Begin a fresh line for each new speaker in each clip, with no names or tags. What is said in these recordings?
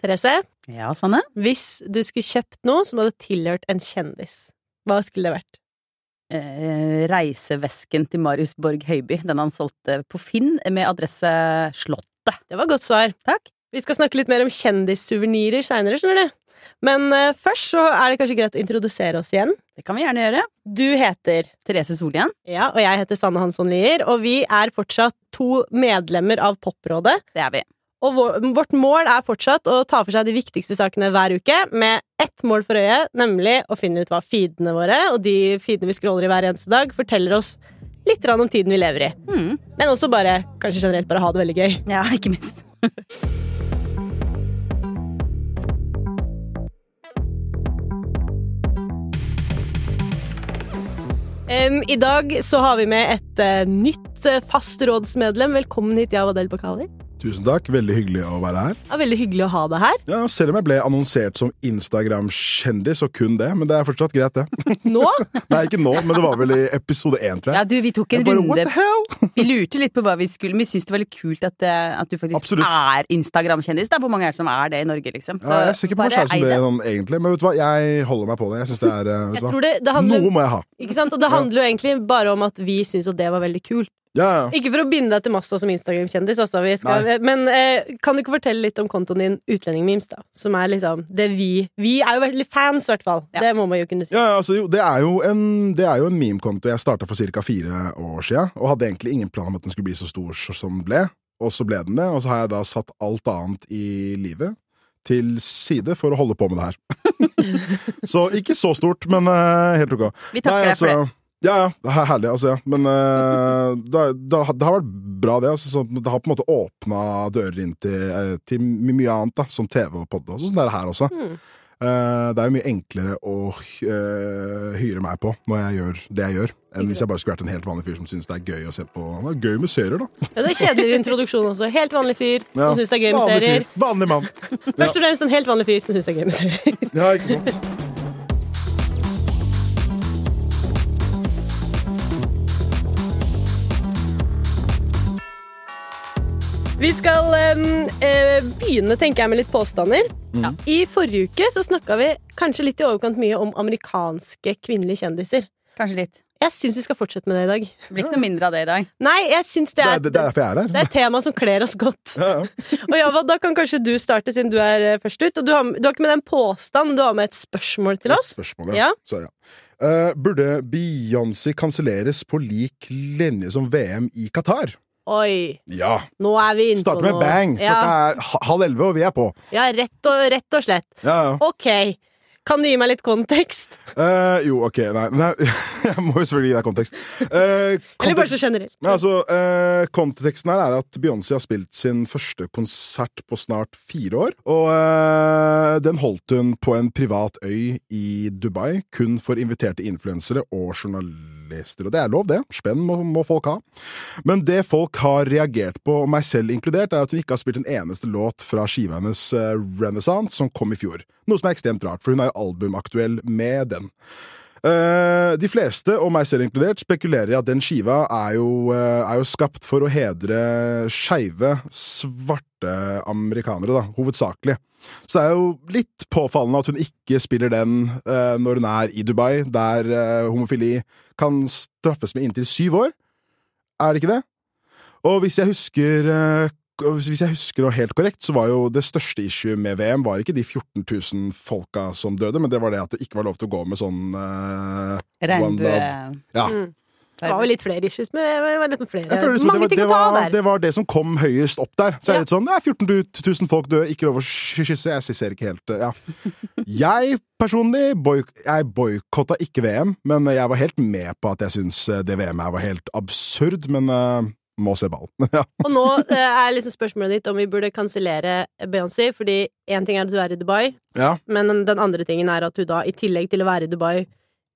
Therese,
Ja, Sanne?
hvis du skulle kjøpt noe som hadde tilhørt en kjendis, hva skulle det vært?
Eh, reisevesken til Marius Borg Høiby, den han solgte på Finn med adresse Slottet.
Det var godt svar.
Takk.
Vi skal snakke litt mer om kjendissuvenirer seinere, skjønner du. Men eh, først så er det kanskje greit å introdusere oss igjen.
Det kan vi gjerne gjøre.
Du heter
Therese Solien.
Ja, og jeg heter Sanne Hansson Lier, og vi er fortsatt to medlemmer av Poprådet.
Det er vi.
Og vår, vårt mål er fortsatt å ta for seg de viktigste sakene hver uke, med ett mål for øye, nemlig å finne ut hva feedene våre og de feedene vi scroller i hver eneste dag, forteller oss litt grann om tiden vi lever i.
Mm.
Men også bare, kanskje generelt bare ha det veldig gøy.
Ja, ikke minst.
Em, I dag så har vi med et eh, nytt eh, fast rådsmedlem. Velkommen hit, Yaw Adel Bakali.
Tusen takk, veldig hyggelig å være her.
Ja, veldig hyggelig å ha deg her.
Ja, selv om jeg ble annonsert som Instagram-kjendis og kun det, men det er fortsatt greit, det.
Nå
Nei, ikke nå, men det var vel i episode én, tror
Ja,
jeg.
du, vi tok en
Jeg bare, what
runde.
the hell?
Vi lurte litt på hva vi skulle, men vi syntes det var litt kult at, eh, at du faktisk
Absolutt.
er Instagram-kjendis. da. Hvor mange er det som er det i Norge, liksom?
Ja, jeg ser ikke på meg
bare
selv som
ei
det sånn, egentlig, men vet du hva, jeg holder meg på det. Jeg synes det er, eh,
Jeg
vet du
tror
hva,
det, det handler
noe må jeg ha.
Ikke sant? Og det handler jo egentlig bare om at vi syns at det var veldig kult.
Ja, ja.
Ikke for å binde deg til masta som Instagram-kjendis, altså, vi skal, men eh, kan du ikke fortelle litt om kontoen din Utlendingmemes, da? Som er liksom det vi Vi er jo veldig fans, i hvert fall.
Ja.
Det må man jo kunne si.
Ja, ja, altså, jo, det, er jo en, det er jo en memekonto jeg starta for ca. fire år sia, og hadde egentlig ingen plan om at den skulle bli så stor s- som den ble. Og så ble den det, og så har jeg da satt alt annet i livet til side for å holde på med det her. så ikke så stort, men eh, helt ok. altså,
Vi takker deg for det.
Ja, ja. det er Herlig, altså. ja. Men eh, det, det, har- det har vært bra, det. Altså, så det har på en måte åpna dører inn til, eh, til mye annet, da, som TV og podde. og Sånn er det her også.
Mm.
Eh, det er jo mye enklere å eh, hyre meg på når jeg gjør det jeg gjør, enn hvis jeg bare skulle vært en helt vanlig fyr som syns det er gøy å se på det er gøy med serier, da.
Ja, det er kjedeligere introduksjon også. Helt vanlig fyr
Ja.
som syns det er gøy med
Vanlig
serier.
fyr. Vanlig mann.
Først og fremst en helt vanlig fyr som syns det er gøy med serier.
Ja, ikke sant?
Vi skal em, eh, begynne, tenker jeg, med litt påstander.
Ja.
I forrige uke så snakka vi kanskje litt i overkant mye om amerikanske kvinnelige kjendiser.
Kanskje litt.
Jeg syns vi skal fortsette med det i dag.
Det blir ikke noe mindre av det i dag.
Nei, jeg syns det
Det
er,
er, det, det er derfor jeg er her.
det er et tema som kler oss godt.
Ja, ja.
Og Java, da kan kanskje du starte, siden du er eh, først ut. Og du har, du har ikke med deg en påstand, du har med et spørsmål til oss.
Spørsmålet.
Ja.
Så, ja. Eh, burde Beyoncé kanselleres på lik linje som VM i Qatar?
Oi,
Ja.
nå er vi inne på
Starter med
noe.
bang.
Ja,
Klokka er ha- halv elleve, og vi er på.
ja rett, og, rett og slett.
Ja, ja.
Ok, kan du gi meg litt kontekst?
Eh, jo, ok. Nei, nei, jeg må jo selvfølgelig gi deg kontekst. Eh,
Eller
kontekst-
bare så generelt.
Nei, altså, eh, Konteksten her er at Beyoncé har spilt sin første konsert på snart fire år. Og eh, den holdt hun på en privat øy i Dubai, kun for inviterte influensere og journalister. Og det er lov, det. Spenn må, må folk ha. Men det folk har reagert på, meg selv inkludert, er at hun ikke har spilt en eneste låt fra skiva hennes eh, Renaissance, som kom i fjor. Noe som er ekstremt rart, for hun er jo albumaktuell med den. Eh, de fleste, og meg selv inkludert, spekulerer i at den skiva er jo, eh, er jo skapt for å hedre skeive, svarte amerikanere, da, hovedsakelig. Så det er jo litt påfallende at hun ikke spiller den eh, når hun er i Dubai, der eh, homofili kan straffes med inntil syv år. Er det ikke det? Og hvis jeg husker eh, k- hvis hvis jeg husker noe helt korrekt, så var jo det største issue med VM var ikke de 14 000 folka som døde, men det var det at det ikke var lov til å gå med sånn eh, One
Regnbue...
love. Ja.
Mm. Det var jo litt flere issues, men det var litt flere.
Jeg føler liksom
Mange
det,
ting
var,
å
det,
ta av
var,
der.
det var det som kom høyest opp der.
Ja.
Så er det litt sånn ja, 14 000 folk døde, ikke lov å ky- kysse. Jeg ser ikke helt eh, ja. Jeg personlig boik jeg boikotta ikke VM, men jeg var helt med på at jeg syns eh, det VM her var helt absurd. Men eh, må se ball. ja.
Og nå eh, er liksom spørsmålet ditt om vi burde kansellere Beyoncé, fordi én ting er at du er i Dubai,
Ja.
men den andre tingen er at hun da, i tillegg til å være i Dubai,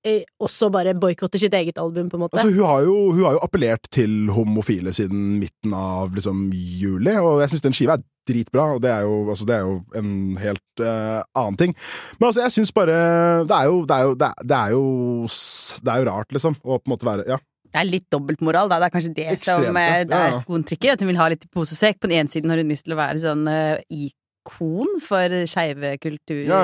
eh, også bare boikotter sitt eget album, på en måte.
Altså, hun, har jo, hun har jo appellert til homofile siden midten av liksom, juli, og jeg syns den skiva er dritbra, og det er jo, altså, det er jo en helt eh, annen ting. Men altså, jeg syns bare det er, jo, det, er jo, det, er, det, er jo, s- det er jo rart, liksom, å på en måte være Ja,
Det er litt dobbeltmoral, da. Det er kanskje det
Ekstremt,
som eh,
ja.
der
Ja, ja.
skoen trykker. At hun vil ha litt i pose og sekk. På den ene siden har hun lyst til å være sånn eh, i ikon for skeive kultur,
Ja,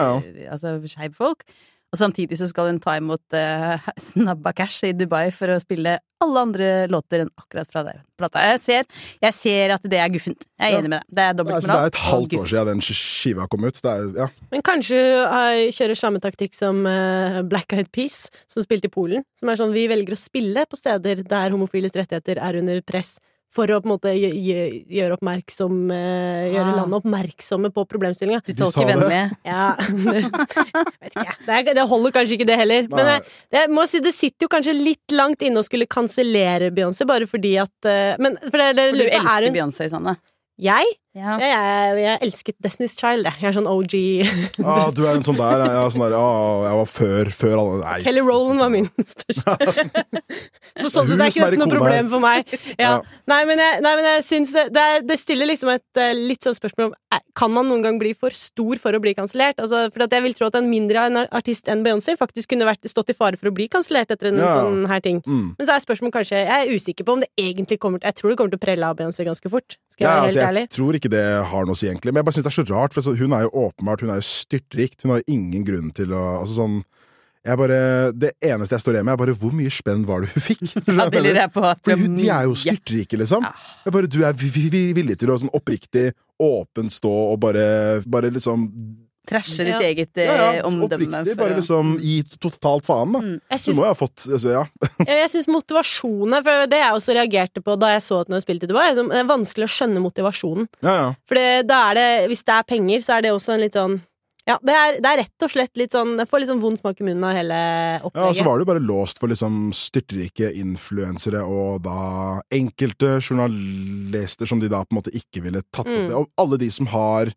altså skeive folk. Og samtidig så skal hun ta imot eh, snabba cash i Dubai for å spille alle andre låter enn akkurat fra deg. Plata. Jeg ser, jeg ser at det er guffent. Jeg er
Ja. altså,
enig med deg. Det er
Det er,
dobbelt
så det er
moralsk.
et
og
halvt
guffent.
år siden den skiva kom ut. Det er, ja.
Men kanskje hun kjører samme taktikk som eh, Black Eyed Peas, som spilte i Polen. Som er sånn vi velger å spille på steder der homofiles rettigheter er under press. For å på en måte gjø- gjø- gjøre, oppmerksom, eh, gjøre
Ah.
landet oppmerksomme på problemstillinga.
Du
De sa
tolker
det.
vennlig.
Ja, det, vet ikke. jeg. Det, er, det holder kanskje ikke det heller. Men
Nei.
jeg, jeg må si det sitter jo kanskje litt langt inne å skulle kansellere Beyoncé, bare fordi at eh, Men for det, det,
For du
lurer på, er
elsker
hun
Beyoncé, Sanne.
Jeg?
Ja.
Jeg, jeg, jeg elsket Destiny's Child, jeg. Jeg er sånn OG.
Ah, du er en sånn der. Ja, sånn der ah, jeg var før, før alle Nei.
Kelly Rowland var min største. Så sånn sett
Hun
er ikke
som er i
dette noe
kona her.
problem for meg. Ja.
Ja.
Nei, men jeg, nei, men jeg syns det, det, er- det stiller liksom et eh, litt sånn spørsmål om eh, Kan man noen gang bli for stor for å bli kansellert? Altså, for at jeg vil tro at en mindre en artist enn Beyoncé faktisk kunne vært, stått i fare for å bli kansellert etter en
Ja.
sånn her ting.
Mm.
Men så er spørsmålet kanskje Jeg er usikker på om det egentlig kommer til Jeg tror det kommer til å prelle av Beyoncé ganske fort. Skal jeg
Ja,
være
altså,
helt ærlig?
jeg tror ikke det har noe å si, egentlig. Men jeg bare synes det er så rart, for altså, hun er jo åpenbart Hun er jo styrtrikt. Hun har jo ingen grunn til å altså, sånn, jeg bare, Det eneste jeg står igjen med, er bare hvor mye spenn var det hun fikk?
Ja, det lurer jeg på. at Ah,
For
det
hun- de er jo
mye.
styrtrike, liksom. Jeg bare, du er vi- vi- vi- villig til å sånn oppriktig, åpent stå og bare, bare liksom
Trashe ditt
Ja.
eget eh,
ja, ja,
omdømme.
Oppriktig,
for Mm.
bare
å-
liksom gi totalt faen, da.
Jeg
Du
syns
må jo ha fått altså, Ja.
Ja, Jeg syns motivasjonen For det jeg også reagerte på da jeg så at hun spilte i Dubai, er sånn, det er vanskelig å skjønne motivasjonen.
ja, ja.
For det- da er det, hvis det er penger, så er det også en litt sånn Ja, det er, det er rett og slett litt sånn Jeg får litt sånn vond smak i munnen av hele
Ja, altså og så
opplegget.
var du bare låst for liksom styrtrike influensere og da enkelte journalister som de da på en måte ikke ville tatt opp
Mm.
det. Og alle de som har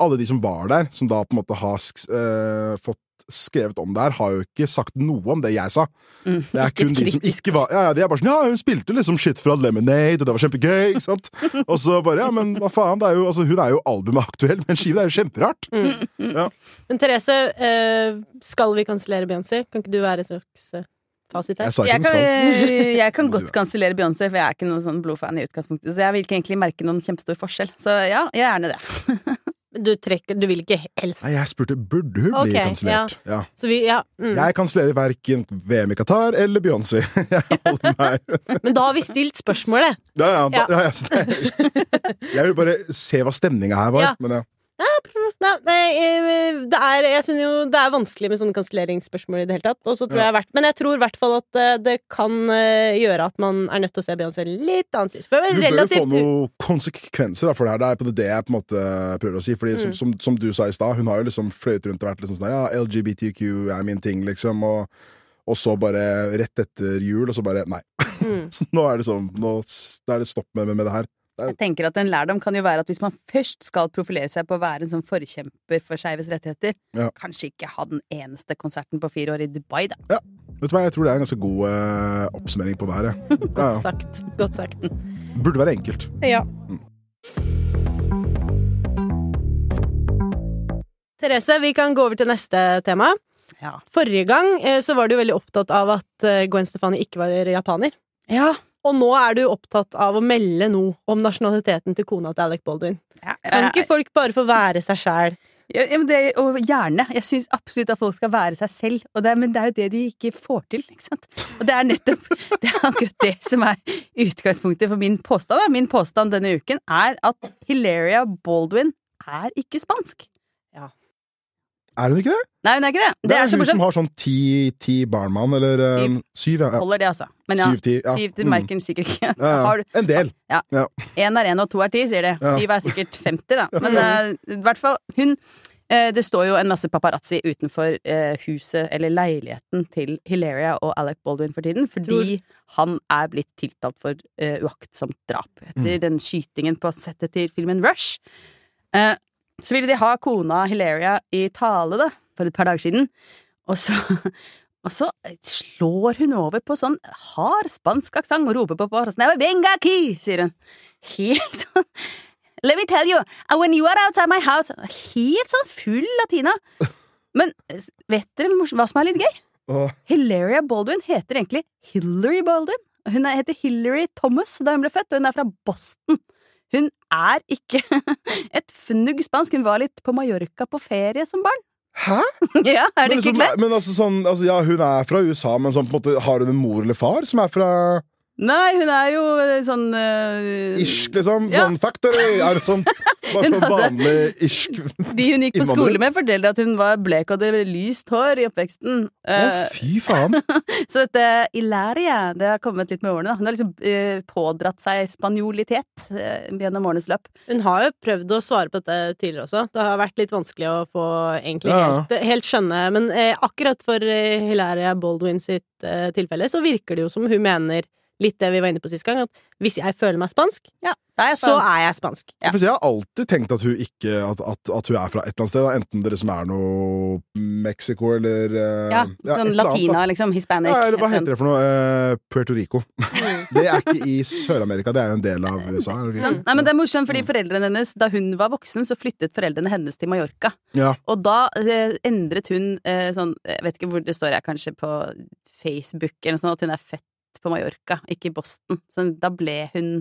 Alle de som var der, som da på en måte har sk eh, fått skrevet om det her, har jo ikke sagt noe om det jeg sa.
Mm.
Det er kun de som ikke var Ja, ja, de er bare sånn Ja, hun spilte liksom shit fra Lemonade, og det var kjempegøy, ikke sant? Og så bare Ja, men hva faen, det er jo Altså, hun er jo albumaktuell, men skiva er jo kjemperart.
Men Therese, eh, skal vi kansellere Beyoncé? Kan ikke du være et slags eh, fasit her?
Jeg sa
Jeg
ikke at hun
kan,
skal
eh, jeg kan
Du sier
godt
det.
kansellere Beyoncé, for jeg er ikke noen sånn blodfan i utgangspunktet. Så jeg vil ikke egentlig merke noen kjempestor forskjell. Så ja, gjerne det.
Du trekker Du vil ikke helst
Nei, jeg spurte burde hun
Ok,
bli kansellert. Ja.
Så vi Ja. Mm.
Jeg kansellerer verken VM i Qatar eller Beyoncé. Jeg holder meg
Men da har vi stilt spørsmålet.
ja, ja, da,
Ja.
ja, ja, så det- Jeg vil bare se hva stemninga her var.
Ja.
Men ja.
Nei, nei, eh, det er, jeg synes jo det er vanskelig med sånne kanselleringsspørsmål i det hele tatt. Og så tror
Ja.
jeg hvert, men jeg tror i hvert fall at eh, det kan eh, gjøre at man er nødt til å se Beyoncé i litt annet lys. For det er
Du bør jo få
relativt
noen konsekvenser da, for det her. Det er på det- det jeg på en måte prøver å si. Fordi
Mm.
som, som, som du sa i stad, hun har jo liksom fløyet rundt og vært liksom sånn der, ja, LGBTQ er min ting, liksom. Og, og så bare rett etter jul, og så bare nei.
Mm.
Så nå er det sånn, nå s- da er det stopp med, med, med det her.
Jeg tenker at En lærdom kan jo være at hvis man først skal profilere seg på å være en sånn forkjemper for skeives rettigheter,
Ja.
kanskje ikke ha den eneste konserten på fire år i Dubai, da.
Vet du hva, jeg tror det er en ganske god eh, oppsummering på det her. jeg. Ja, ja.
sagt. Godt sagt.
Burde være enkelt.
Ja. Therese, vi kan gå over til neste tema.
Ja.
Forrige gang eh, så var du veldig opptatt av at eh, Gwen Stefani ikke var japaner.
ja.
Og nå er du opptatt av å melde noe om nasjonaliteten til kona til Alec Baldwin. Kan
Eh,
ikke folk bare få være seg sjæl?
Ja, ja, men det, og gjerne. Jeg syns absolutt at folk skal være seg selv, og det, er- men det er jo det de ikke får til. Ikke sant? Og det er nettopp det er akkurat det som er utgangspunktet for min påstand. Da. Min påstand denne uken er at Hilaria Baldwin er ikke spansk.
Er hun ikke det?
Nei, hun er ikke det! Det er så
hun som
morsomt.
har sånn ti, ti barnmann, eller eh,
Syv.
syv, ja. ja.
Holder det, altså. Men ja,
Syv, ti, ja.
syv til
Mm.
merker den sikkert ikke.
Ja, ja.
Har du
En del.
Én er én, og to er ti, sier de.
Ja.
Syv er sikkert 50, da. Men eh, i hvert fall, hun eh, Det står jo en masse paparazzi utenfor eh, huset eller leiligheten til Hilaria og Alec Baldwin for tiden, fordi han er blitt tiltalt for eh, uaktsomt drap etter den skytingen på settet til filmen Rush. Eh, så ville de ha kona Hilaria i tale, da, for et par dager siden, og så og så slår hun over på sånn hard spansk aksent og roper på paparazzen Venga aquí! sier hun. Helt sånn Let me tell you, uh, when you are outside my house Helt sånn full latina. Men eh, vet dere hvor- hva som er litt gøy?
Og,
Hilaria Baldwin heter egentlig Hillary Baldwin. Hun er- heter Hillary Thomas da hun ble født, og hun er fra Boston. Hun er ikke et fnugg spansk. Hun var litt på Mallorca på ferie som barn.
Hæ?
Ja, er det
men,
ikke
liksom,
kleint?
men altså sånn altså, Ja, hun er fra USA, men sånn på en måte Har hun en mor eller far som er fra
Nei, hun er jo eh, sånn eh,
irsk, liksom?
Ja.
Sånn factory? Er det sånn bare
Hun
sånn
hadde-
vanlig irsk
De hun gikk på
Innvandrer.
skole med, fortalte at hun var blek og hadde lyst hår i oppveksten.
Å,
Eh,
fy faen!
Så dette Ilaria, det har kommet litt med årene. da. Hun har liksom eh, pådratt seg spanjolitet eh, gjennom årenes løp.
Hun har jo prøvd å svare på dette tidligere også. Det har vært litt vanskelig å få egentlig
Ja.
helt, helt skjønne. Men eh, akkurat for eh, Hilaria Baldwin sitt eh, tilfelle så virker det jo som hun mener litt det vi var inne på sist gang, at hvis jeg føler meg spansk, ja,
Nei,
så
faen.
er jeg spansk.
Ja.
For Jeg har alltid tenkt at hun ikke At, at, at hun er fra et eller annet sted. Da. Enten dere som er noe Mexico eller eh,
ja,
ja, et
sånn
eller annet, da.
latina, liksom. Hispanic.
Ja, eller hva heter det for noe? Eh, Puerto Rico.
Mm.
Det er ikke i Sør-Amerika, det er jo en del av USA. er det ikke?
Sånn.
Nei, men det er morsomt, fordi foreldrene hennes, Da hun var voksen, så flyttet foreldrene hennes til Mallorca.
Ja.
Og da eh, endret hun eh, sånn Jeg vet ikke hvor det står, jeg kanskje på Facebook eller noe sånt, at hun er født på Mallorca, ikke i Boston. Så da ble hun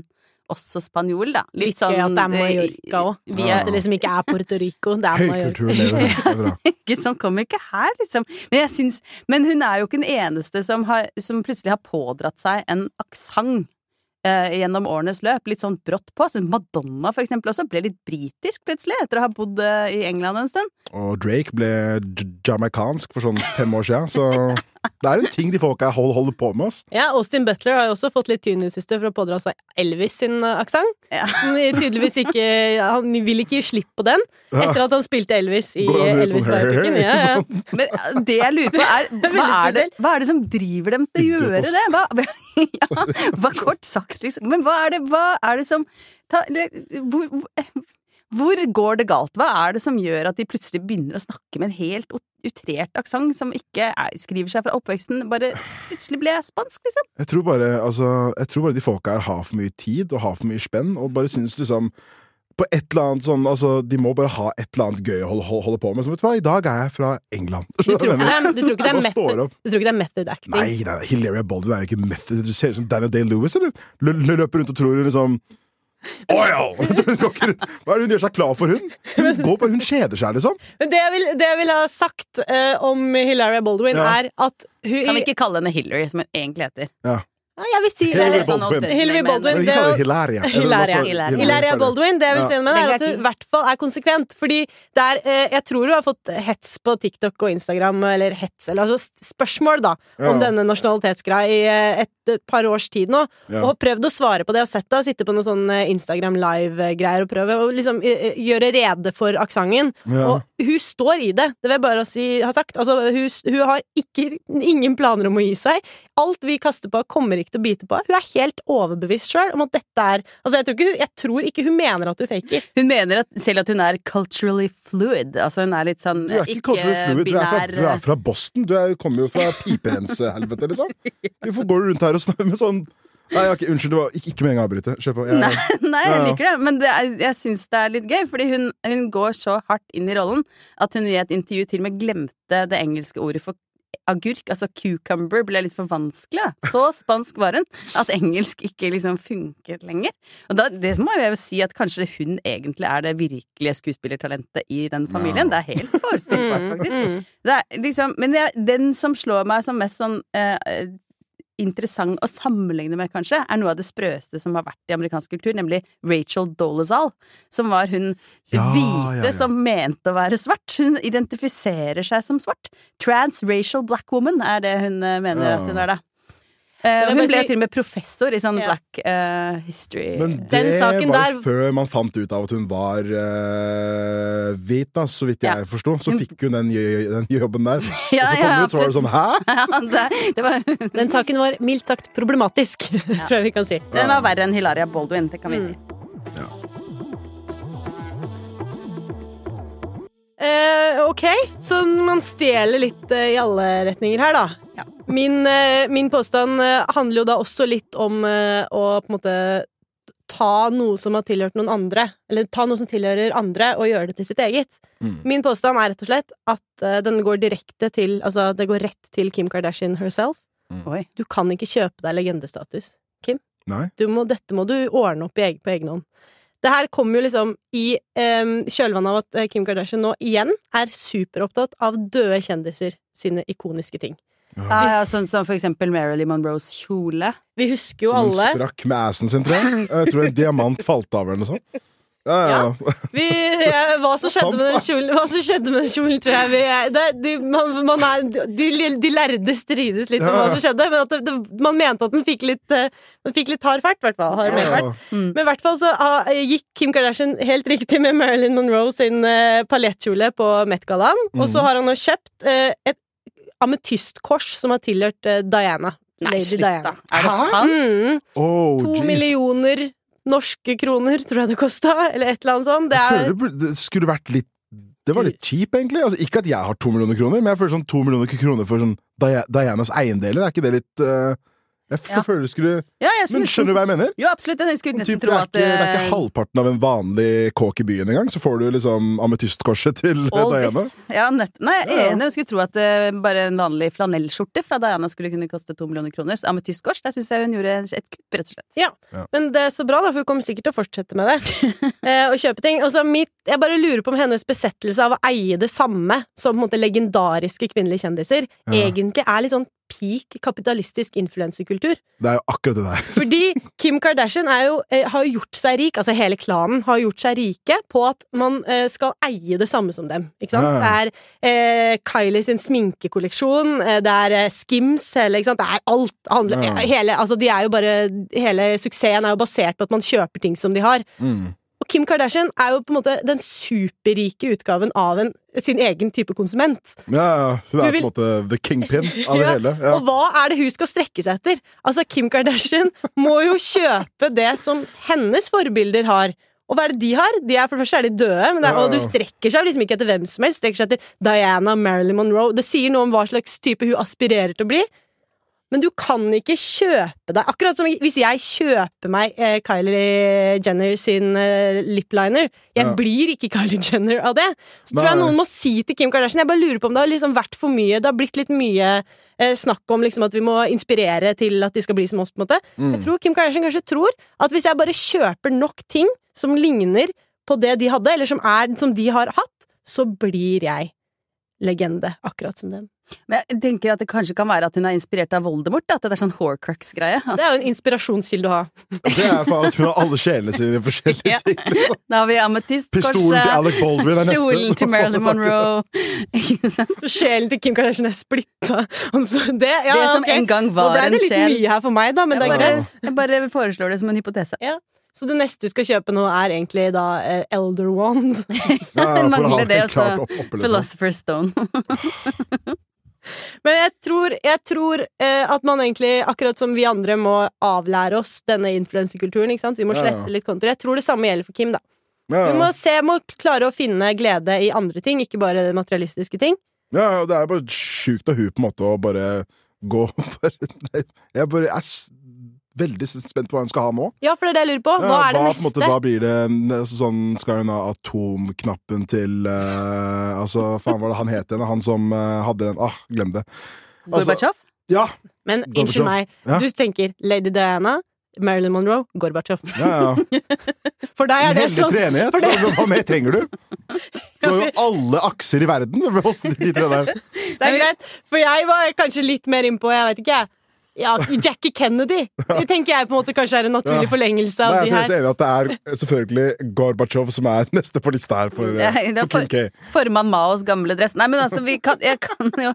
også spanjol, da. Litt
Gøy at det er
eh,
Mallorca òg.
Vi er,
Ja.
Det liksom ikke sånn, er Puerto Rico, det er Mallorca.
Høykulturen lever. Det er bra.
ikke sånn kommer ikke her, liksom. Men, jeg syns, men hun er jo ikke den eneste som, har, som plutselig har pådratt seg en aksent eh, gjennom årenes løp. Litt sånn brått på. Så Madonna, for eksempel, også ble litt britisk plutselig, etter å ha bodd eh, i England en stund.
Og Drake ble j- jamaicansk for sånn fem år siden, så det er en ting de folka her hold- holder på med. Ass.
Ja, Austin Butler har jo også fått litt tyn i det siste for å pådra seg Elvis sin uh, aksent. eh,
Ja.
Tydeligvis ikke Han vil ikke gi slipp på den etter at han spilte Elvis i
Går han ut sånn,
Elvis-biopiken.
«Hei, hei»,
Ja, ja.
Men eh, det jeg lurer på, er hva er det, hva er det som driver dem til å
Idiot,
gjøre
ass.
det? Hva, ja, hva kort sagt, liksom. Men hva er det, hva er det som ta, le- hvor, hvor- hvor går det galt? Hva er det som gjør at de plutselig begynner å snakke med en helt ut- utrert aksent som ikke er, skriver seg fra oppveksten? Bare plutselig ble jeg spansk, liksom.
Jeg tror, bare, altså, jeg tror bare de folka her har for mye tid og har for mye spenn, og bare syns liksom på et eller annet sånn, altså, De må bare ha et eller annet gøy å holde, holde på med. Som, vet du hva, I dag er jeg fra England.
Du tror ikke det er, du tror ikke det er
Hva sånn. står
method,
opp?
du tror ikke det er method acting?
Nei, nei, nei, Hilaria Baldwin er jo ikke method. Du ser ut som Daniel Day-Lewis, eller? Lø- lø- løper rundt og tror hun liksom Å ja! Hun går ikke rundt. Hva er det hun gjør seg klar for, hun? Hun, går bare, hun kjeder seg, liksom.
Men det jeg vil, det jeg vil ha sagt eh, om Hilaria Baldwin,
Ja.
er at hun
Kan vi ikke kalle henne Hillary, som hun egentlig heter?
ja, Jeg vil si det.
Hillary
Eller
Baldwin.
sånn
alternativ-
Hillary Baldwin. Men
Men vi kaller
det-
det Hilaria. Eller la oss
Hilaria.
bare-
Hilaria.
Hilaria
ferdig.
Baldwin, det jeg vil
Ja.
si om henne, er at
Begge er
hun i hvert fall er konsekvent. Fordi det er, eh, jeg tror hun har fått hets på TikTok og Instagram, eller hets, eller altså s- spørsmål, da, om
Ja.
denne nasjonalitetsgreia i eh, et, et par års tid nå.
Ja.
Og har prøvd å svare på det, og sett det, sitte på noen sånne Instagram live-greier og prøve å liksom eh, eh, gjøre rede for aksenten.
Ja.
Og hun står i det, det vil jeg bare si, ha sagt. Altså, hun, s- hun har ikke, ingen planer om å gi seg. Alt vi kaster på, kommer ikke til å bite på. Hun er helt overbevist sjøl om at dette er Altså, jeg tror ikke hun, jeg tror ikke hun mener at hun faker.
Hun mener at, selv at hun er culturally fluid. Altså hun er litt sånn
Du er ikke culturally fluid. Du er fra,
ikke-binær-
du er fra Boston. Du er, kommer jo fra piperensehelvete, liksom. Hvorfor går du rundt her og snakker med sånn Nei, ok, unnskyld. Det var ikke, ikke meningen å avbryte. Kjør på. Jeg,
Nei, nei, jeg
Ja, ja.
liker det, men det er, jeg syns det er litt gøy, fordi hun, hun går så hardt inn i rollen at hun i et intervju til og med glemte det engelske ordet for agurk, altså cucumber, ble litt for vanskelig. da. Så spansk var hun at engelsk ikke liksom funket lenger. Og da, det må jeg jo si at kanskje hun egentlig er det virkelige skuespillertalentet i den familien. Det er helt forestillbart, faktisk. Det er liksom, men jeg, den som slår meg som mest sånn eh, eh, interessant å sammenligne med, kanskje, er noe av det sprøeste som har vært i amerikansk kultur, nemlig Rachel Dolezal. Som var hun
Ja,
hvite
ja, ja.
som mente å være svart. Hun identifiserer seg som svart. Transracial black woman er det hun eh, mener
Ja.
at hun er, da. Eh,
Men jeg
og
må
hun ble
si-
jo til og med professor i sånn
Ja.
black eh, history.
Men det
Den saken
var jo
der-
før man fant ut av at hun var eh, hvit, da, så vidt jeg
Ja.
forsto. Så fikk hun den, jo- den jobben der.
Ja,
og så
ja,
kom hun ut, så var det sånn Hæ?
ja, det, det var,
Den saken var mildt sagt problematisk, tror jeg vi kan si.
den var verre enn Hilaria Baldwin, det kan vi
Mm.
si.
Eh, ok, så man stjeler litt eh, i alle retninger her, da.
Ja.
Min, eh, min påstand eh, handler jo da også litt om eh, å på en måte ta noe som har tilhørt noen andre, eller ta noe som tilhører andre, og gjøre det til sitt eget.
Mm.
Min påstand er rett og slett at eh, den går direkte til Altså, det går rett til Kim Kardashian herself.
Oi.
Du kan ikke kjøpe deg legendestatus.
Nei.
Du må, dette må du ordne opp i egen, på egen hånd. Det her kommer jo liksom i em, kjølvannet av at eh, Kim Kardashian nå igjen er superopptatt av døde kjendiser sine ikoniske ting.
Ja, ja, sånn som for eksempel Marilyn Monroes kjole.
Vi husker jo
Som hun
alle
sprakk med assen sin, tror jeg. Jeg tror en diamant falt av, eller noe sånt. Ja, ja. ja.
vi, ja, hva, som skjedde
Sant,
med
da.
den kjolen, hva som skjedde med den kjolen, tror jeg vi det, de, man, man er, de, de lærde strides litt om hva
Ja.
som skjedde, men at det, det, man mente at den fikk litt, eh, den fikk litt hard fart, i hvert fall. Hard medfart.
Ja.
Men i hvert fall så ah, gikk Kim Kardashian helt riktig med Marilyn Monroe sin eh, paljettkjole på Met-gallaen. Og
Mhm.
så har han nå kjøpt eh, et ametystkors som har tilhørt eh, Diana. Lady Diana.
Er det
Hæ?
sant?
Mm,
Oh,
to
jeez.
millioner norske kroner, tror jeg det kosta. Eller et eller annet sånt. Det
Jeg
er,
føler det burde- det skulle vært litt Det var litt cheap, egentlig. Altså, ikke at jeg har to millioner kroner, men jeg føler sånn to millioner kroner for sånn Dia- Dianas eiendeler. Er ikke det litt eh, Jeg f-
Ja.
føler du skulle
Ja, jeg
Men
synes,
skjønner du hva jeg mener?
Jo, absolutt. Jeg skulle nesten
Typ, det,
tro
er
at
ikke, det er
eh,
ikke halvparten av en vanlig kåk i byen engang, så får du liksom ametystkorset til eh,
all
Diana.
this. Ja, nett. Nei, jeg
Ja,
er
ja.
enig. Jeg skulle tro at eh, bare en vanlig flanellskjorte fra Diana skulle kunne koste to millioner kroner. Så ametystkors, der syns jeg hun gjorde et kupp, rett og slett.
Men det er så bra, da, for hun kommer sikkert til å fortsette med det. eh, og kjøpe ting. Og så mitt, jeg bare lurer på om hennes besettelse av å eie det samme som på en måte legendariske kvinnelige kjendiser,
Ja.
egentlig er litt sånn peak kapitalistisk influensekultur.
Det er jo akkurat det der.
Fordi Kim Kardashian er jo, eh, har jo gjort seg rik, altså hele klanen har gjort seg rike på at man eh, skal eie det samme som dem. Ikke sant?
Ja, ja.
Det er eh, Kylie sin sminkekolleksjon, eh, det er eh, Skims, hele, ikke sant? det er alt. Handler,
Ja.
hele, altså, de er jo bare, hele suksessen er jo basert på at man kjøper ting som de har.
Mm.
Og Kim Kardashian er jo på en måte den superrike utgaven av en, sin egen type konsument.
Ja, ja, hun
Du
er
vil-
på en måte the kingpin av det
Ja,
hele. Ja.
Og hva er det hun skal strekke seg etter? Altså, Kim Kardashian må jo kjøpe det som hennes forbilder har. Og hva er det de har? De er, for det første er de døde, men det er,
Ja, ja.
og du strekker seg liksom ikke etter hvem som helst. Strekker seg etter Diana, Marilyn Monroe. Det sier noe om hva slags type hun aspirerer til å bli. Men du kan ikke kjøpe deg Akkurat som hvis jeg kjøper meg eh, Kylie Jenner sin eh, lipliner. Jeg
Ja.
blir ikke Kylie Jenner av det. Så tror jeg
Nei.
noen må si til Kim Kardashian Jeg bare lurer på om det har liksom vært for mye. Det har blitt litt mye eh, snakk om liksom at vi må inspirere til at de skal bli som oss. på en måte
Mm.
Jeg tror Kim Kardashian kanskje tror at hvis jeg bare kjøper nok ting som ligner på det de hadde, eller som, er, som de har hatt, så blir jeg legende, akkurat som dem.
Men jeg tenker at det kanskje kan være at hun er inspirert av Voldemort. da, At det er sånn Horcrux-greie.
Det er jo en inspirasjonskilde å ha.
Det er faen at hun har alle sjelene sine i forskjellige
Ja.
ting. Liksom.
Da har vi ametystkorset.
Pistolen til Alec Baldwin er neste.
eh, Kjolen til Marilyn Monroe. Ikke sant?
Sjelen til Kim Kardashian er splitta. Altså, det, ja,
det som
ok.
en gang
Nå
var
ble
en
det litt
sjel.
mye her for meg, da, men det
Jeg
er
bare,
greit.
jeg bare foreslår det som en hypotese.
Så det neste du skal kjøpe nå, er egentlig da eh, Elder Wand.
Ja, for å ha
Mangler det, altså.
klart opp- oppe, liksom.
Philosopher's Stone.
Men jeg tror, jeg tror eh, at man egentlig, akkurat som vi andre, må avlære oss denne influensekulturen. ikke sant? Vi må
Ja, ja.
slette litt kontoer. Jeg tror det samme gjelder for Kim, da.
Ja,
Du
ja.
må se, må klare å finne glede i andre ting, ikke bare det materialistiske ting.
Ja, ja, det er bare sjukt av hun på en måte å bare gå bare, nei, Jeg bare er s- veldig spent på hva hun skal ha nå.
Ja, for det er det jeg lurer på.
Ja,
Hva er det
hva, på en Måte,
neste?
hva blir det altså, sånn, Skal hun ha atomknappen til eh, Altså, faen, hva var det han het igjen? Han som eh, hadde den Ah, glem det. Altså,
Gorbatsjov?
ja,
Men
Gorbatsjov.
unnskyld meg,
Ja.
du tenker Lady Diana, Marilyn Monroe, Gorbatsjov.
ja, ja.
For deg
En
er det
hellig
sånn.
treenighet.
for
så Hva mer trenger du? Du har jo alle akser i verden! Hvordan de tre der
Det er greit, for jeg var kanskje litt mer innpå, jeg vet ikke, jeg. Ja, Jackie Kennedy Det tenker jeg på en måte kanskje er en naturlig
Ja.
forlengelse av
Nei,
de
jeg er
her.
så enig at det er eh, selvfølgelig Gorbatsjov som er neste på lista her for, eh,
Nei, det er
for Kim K.
for- Formann Maos gamle dress. Nei, men altså, vi kan, jeg kan jo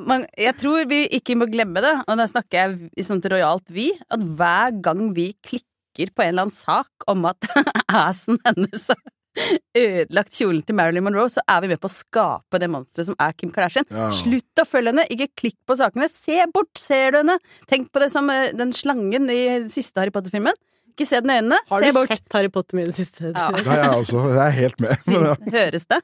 man, Jeg tror vi ikke må glemme det, og da snakker jeg i sånt rojalt vi, at hver gang vi klikker på en eller annen sak om at assen hennes har ødelagt kjolen til Marilyn Monroe, så er vi med på å skape det monsteret som er Kim Kardashian.
Ja.
Slutt å følge henne, ikke klikk på sakene. Se bort, ser du henne? Tenk på det som eh, den slangen i den siste Harry Potter-filmen. Ikke se den i øynene,
Har
se
du
bort.
sett Harry Potter mye i det siste?
Ja.
Nei, jeg, er også, altså, jeg er helt med. Men, ja,
Høres det?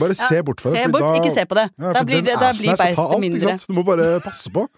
bare se bort fra det.
Se
fordi
bort,
da-
ikke se på det.
Ja,
da
for
blir,
den
det- da
assen
blir
her skal ta alt,
beistet
ikke
mindre.
sant? Så Du må bare passe på.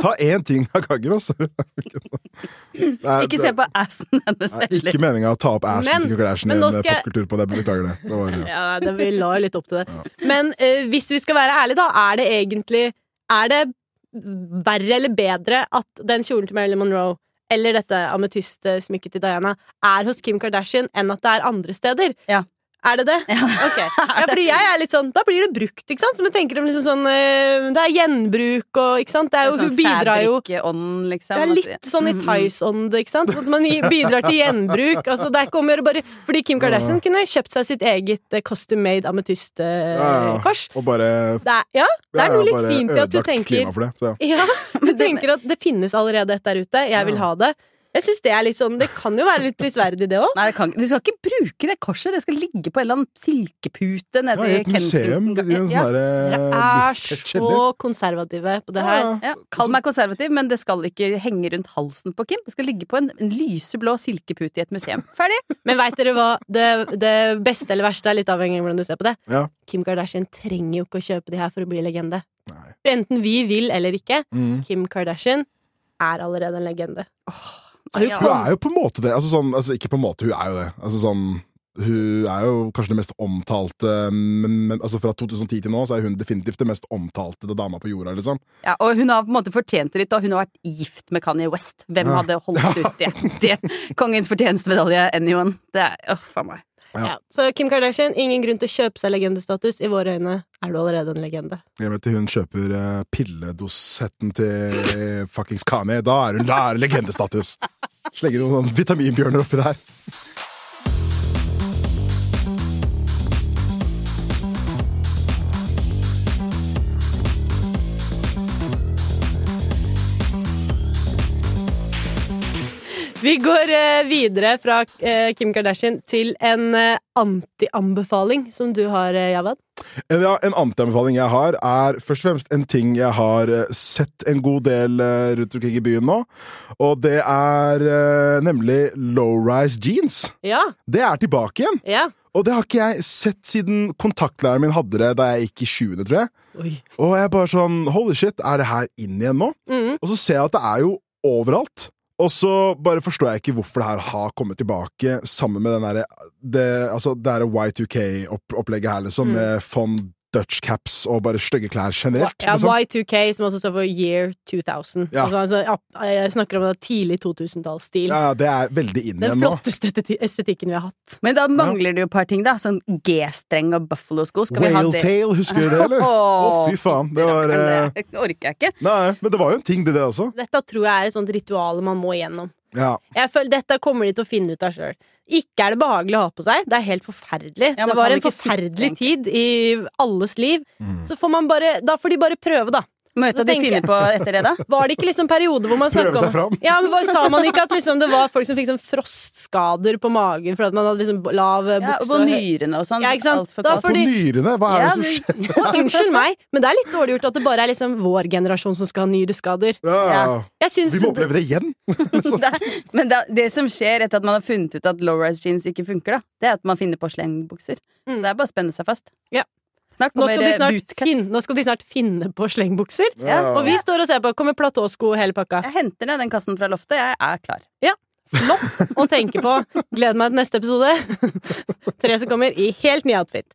Ta én ting av gangen, altså. Nei,
Ikke
det-
se på assen hennes
Nei,
heller.
ikke meninga å ta opp assen
Men-
til Kardashian i
men
en
nå
eh,
skal jeg-
popkultur på det. Beklager det. det var, ja.
Ja, det, vi la jo litt opp til det. Men eh, hvis vi skal være ærlige, da, er det egentlig Er det verre eller bedre at den kjolen til Marilyn Monroe eller dette ametystsmykket til Diana er hos Kim Kardashian enn at det er andre steder.
Ja.
Er det det? Ok. Ja, fordi jeg er litt sånn, Da blir det brukt, ikke sant? Som jeg tenker om liksom sånn eh, Det er gjenbruk og ikke sant? Det er jo,
Altså, sånn
Hun bidrar jo
fabrikkånd, liksom.
det er
at-
litt sånn i
Mm, mm.
Tice-ånd, ikke sant? At man gi- bidrar til gjenbruk. Altså, det er ikke om å gjøre bare Fordi Kim Kardashian kunne kjøpt seg sitt eget eh, custom made
Ja, ja.
ametystkors.
Og bare
Det er, ja, det er
ja,
noe litt
bare
fint i at du
ødelagt
tenker
klimaet for det. Så, ja.
Ja, du tenker at det finnes allerede et der ute. Jeg vil ha det. Jeg synes Det er litt sånn, det kan jo være litt prisverdig, det òg.
Nei, det kan, ikke- du skal ikke bruke det korset. Det skal ligge på en eller annen silkepute nede
Ja, I et museum.
Kensington-
I en
Ja,
sånn derre
Dere er så konservative på det her.
ja. Kall meg konservativ, men det skal ikke henge rundt halsen på Kim. Det skal ligge på en, en lyseblå silkepute i et museum. Ferdig!
Men veit dere hva? Det, det beste eller verste er litt avhengig av hvordan du ser på det.
Ja.
Kim Kardashian trenger jo ikke å kjøpe de her for å bli legende.
Nei.
Enten vi vil eller ikke,
Mm.
Kim Kardashian er allerede en legende.
Hun
Hun er jo på en måte det. Altså, sånn, altså, ikke på en måte, hun er jo det. Altså, sånn, hun er jo kanskje det mest omtalte men, men, altså, Fra 2010 til nå så er hun definitivt det mest omtalte dama på jorda. Liksom.
Ja, og hun har på en måte fortjent det litt, og hun har vært gift med Kanye West. Hvem
Ja.
hadde holdt ut det? det kongens fortjenestemedalje, anyone. Det er, åh, faen meg.
Ja.
Ja. Så Kim Kardashian, ingen grunn til å kjøpe seg legendestatus. I våre øyne er du allerede en legende.
Jeg vet, hun kjøper eh, pilledosetten til eh, fuckings Kanye. Da er hun da er det legendestatus! Slenger noen sånne vitaminbjørner oppi der.
Vi går eh, videre fra eh, Kim Kardashian til en eh, anti-anbefaling som du har, eh, Javad.
En, ja, en antianbefaling jeg har, er først og fremst en ting jeg har eh, sett en god del eh, rundt omkring i byen nå. Og det er eh, nemlig low-rise jeans.
Ja,
Det er tilbake igjen!
ja.
Og det har ikke jeg sett siden kontaktlæreren min hadde det da jeg gikk i 7. tror jeg. Og jeg er bare sånn Holy shit, er det her inn igjen nå?
Mhm.
Og så ser jeg at det er jo overalt. Og så bare forstår jeg ikke hvorfor det her har kommet tilbake sammen med den derre det, altså det derre Y2K-opplegget her, liksom,
Mm.
med fond Dutch caps og bare stygge klær generelt.
Ja,
liksom.
Y2K, som også står for Year 2000.
Ja.
Altså, altså, ja, jeg snakker om det tidlig 2000-tallsstil.
ja, ja, det er veldig inn
Den
igjen nå.
flotteste esteti- estetikken vi har hatt.
Men da mangler det jo et par ting, da. Sånn G-streng og buffalo-sko. Skal vi ha det?
Whaletail, husker du det, eller? Å, fy faen. Det var eh,
Det orker jeg ikke.
Nei, men det var jo en ting, det, det også.
Dette tror jeg er et sånt ritual man må igjennom.
Ja.
Jeg føler Dette kommer de til å finne ut av sjøl. Ikke er det behagelig å ha på seg. Det er helt forferdelig.
Ja, man
det var
kan
en
ikke sitte,
forferdelig tid i alles liv.
Mm.
Så får man bare, da får de bare prøve, da.
Møte
Så
de
tenker
finner på etter det, da.
Var det ikke liksom perioder hvor man
Prøve
snakket om
seg fram.
Ja, men var- Sa man ikke at liksom det var folk som fikk sånn frostskader på magen fordi at man hadde liksom lav eh,
Ja,
bukse?
og på
og hø-
nyrene og sånn.
Ja, ikke sant?
Alt for
Da
kaldt.
På
Fordi-
nyrene? Hva er det
Ja,
som skjer?
men-
Og unnskyld meg, men det er litt dårlig gjort at det bare er liksom vår generasjon som skal ha nyreskader.
Ja, ja.
Ja.
Jeg syns
Vi må oppleve det igjen!
Det- Men da, det som skjer etter at man har funnet ut at low-rise jeans ikke funker, da, det er at man finner på slengbukser.
Mm.
Det er bare å spenne seg fast.
Ja.
Snart
nå,
kommer
skal de
det
snart
bootcut.
finne, nå skal de snart finne på slengbukser.
Ja,
Og vi står og ser på. Kommer platåsko og hele pakka.
Jeg henter ned den kassen fra loftet. Jeg er klar.
Flott å tenke på. Gleder meg til neste episode. Therese kommer i helt ny outfit.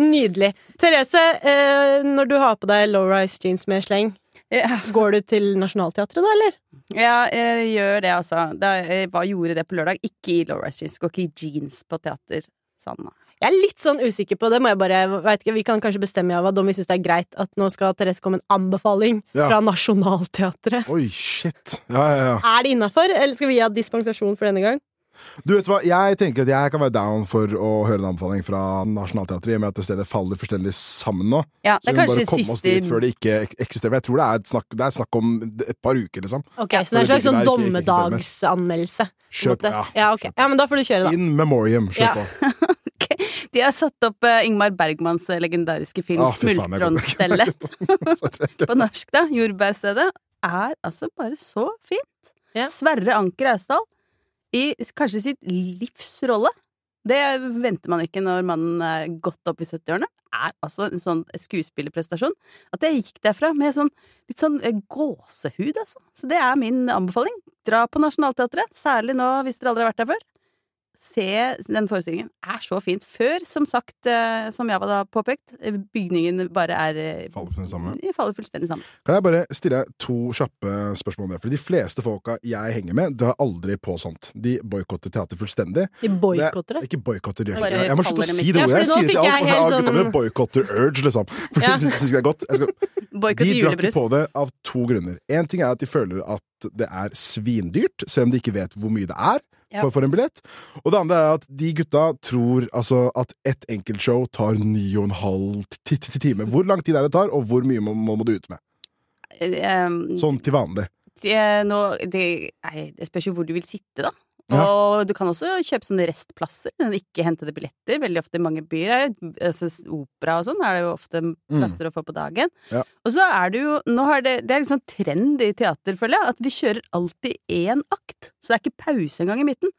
Nydelig. Therese, eh, når du har på deg low-rise jeans med sleng,
Ja,
går du til Nationaltheatret da, eller?
Ja, jeg gjør det, altså. Da, jeg bare gjorde det på lørdag. Ikke i low-rise jeans. Går ikke i jeans på teater. Sanna.
Jeg er litt sånn usikker på det. må jeg bare, vet ikke, Vi kan kanskje bestemme av om vi syns det er greit at nå skal Therese komme en anbefaling
Ja.
fra Nationaltheatret.
Oi, shit. Ja, ja, ja.
Er det innafor, eller skal vi gi dispensasjon for denne gang?
Du vet hva, Jeg tenker at jeg kan være down for å høre en anbefaling fra Nationaltheatret, i og med at det stedet faller forstendig sammen nå.
Ja, det er
Så vi må
kanskje
bare komme oss dit før
siste
det ikke ek- eksisterer. For Jeg tror det er, et snakk, det er snakk om et par uker, liksom.
Ok, Så det er en slags
Fordi
sånn
det ikke- ikke stemmer.
dommedagsanmeldelse? på en
Kjøp,
måte.
ja.
Ja, ok. ja, men da får du kjøre, da.
In memoriam. Kjør
Ja.
på.
De har satt opp eh, Ingmar Bergmans legendariske film
Ah, fy faen, jeg går ikke.
'Smultronstellet'
Sorry.
på norsk, da. Jordbærstedet. Er altså bare så fint.
Ja.
Sverre Anker Austdal i kanskje sitt livs rolle. Det venter man ikke når mannen er godt opp i 70-årene. Er altså en sånn skuespillerprestasjon. At jeg gikk derfra med sånn, litt sånn eh, gåsehud, altså. Så det er min anbefaling. Dra på Nationaltheatret, særlig nå hvis dere aldri har vært der før. se den forestillingen er så fint. Før, som sagt, eh, som jeg var da påpekt, eh, bygningen bare er eh,
Faller for den samme.
de faller fullstendig sammen.
Kan jeg bare stille deg to kjappe spørsmål om det? For de fleste folka jeg henger med, drar aldri på sånt. De boikotter teater fullstendig.
De boikotter det.
Ikke boikotter, de gjør
Bare
ikke det. Jeg må
faller
slutte å
dem
si
ikke.
det ordet.
Ja, fordi
Jeg
nå
sier det til
fikk jeg
alle.
helt
Ja, gutta
sånn-
mine boikotter urge, liksom. For
Ja.
det syns jeg er godt. Jeg skal
Boikott
De drar ikke
julebrus.
på det av to grunner. Én ting er at de føler at det er svindyrt, selv om de ikke vet hvor mye det er
Ja.
for, for en billett. Og det andre er at de gutta tror altså, at ett enkeltshow tar ni og en halv ti- ti- ti time. Hvor lang tid er det tar, og hvor mye må, må må du ut med?
Eh,
Sånn til vanlig.
eh, nå, det, nei, det spørs jo hvor du vil sitte, da.
Ja.
Og du kan også kjøpe sånne restplasser, men ikke hentede billetter. Veldig ofte i mange byer er jo altså, opera og sånn, er det jo ofte plasser å få på dagen.
Mm. Ja.
Og så er det jo nå har det, det er en sånn trend i teater, føler jeg, at de kjører alltid én akt. Så det er ikke pause engang i midten.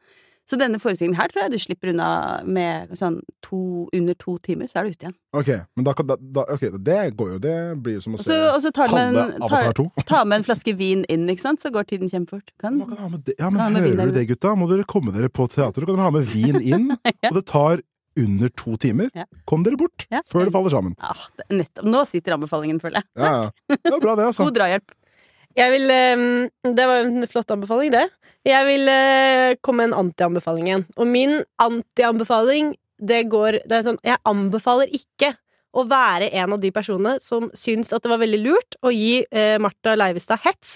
Så denne forestillingen her tror jeg du slipper unna med sånn to, under to timer, så er du ute igjen.
Ok, men da, kan- da, da, ok, det går jo. Det blir jo som
Og
å se
så, og så tar du med
halve
en,
Avatar
tar,
2.
ta med en flaske vin inn, ikke sant, så går tiden kjempefort. Kan
Man kan ha med det. Ja, men
Ta med vin
Hører
der.
du det, gutta? Må dere komme dere på teateret? Kan dere ha med vin inn? Og det tar under to timer.
Ja.
Kom dere bort
Ja.
før det faller sammen.
Ah, det er nettopp. Nå sitter anbefalingen, føler jeg.
Ja, ja. Det var bra, det, altså.
God drahjelp.
Jeg vil, ehm, det var en flott anbefaling, det. Jeg vil eh, komme med en anti-anbefaling igjen. Og min anti-anbefaling, det går det er sånn, Jeg anbefaler ikke å være en av de personene som syns at det var veldig lurt å gi eh, Martha Leivestad hets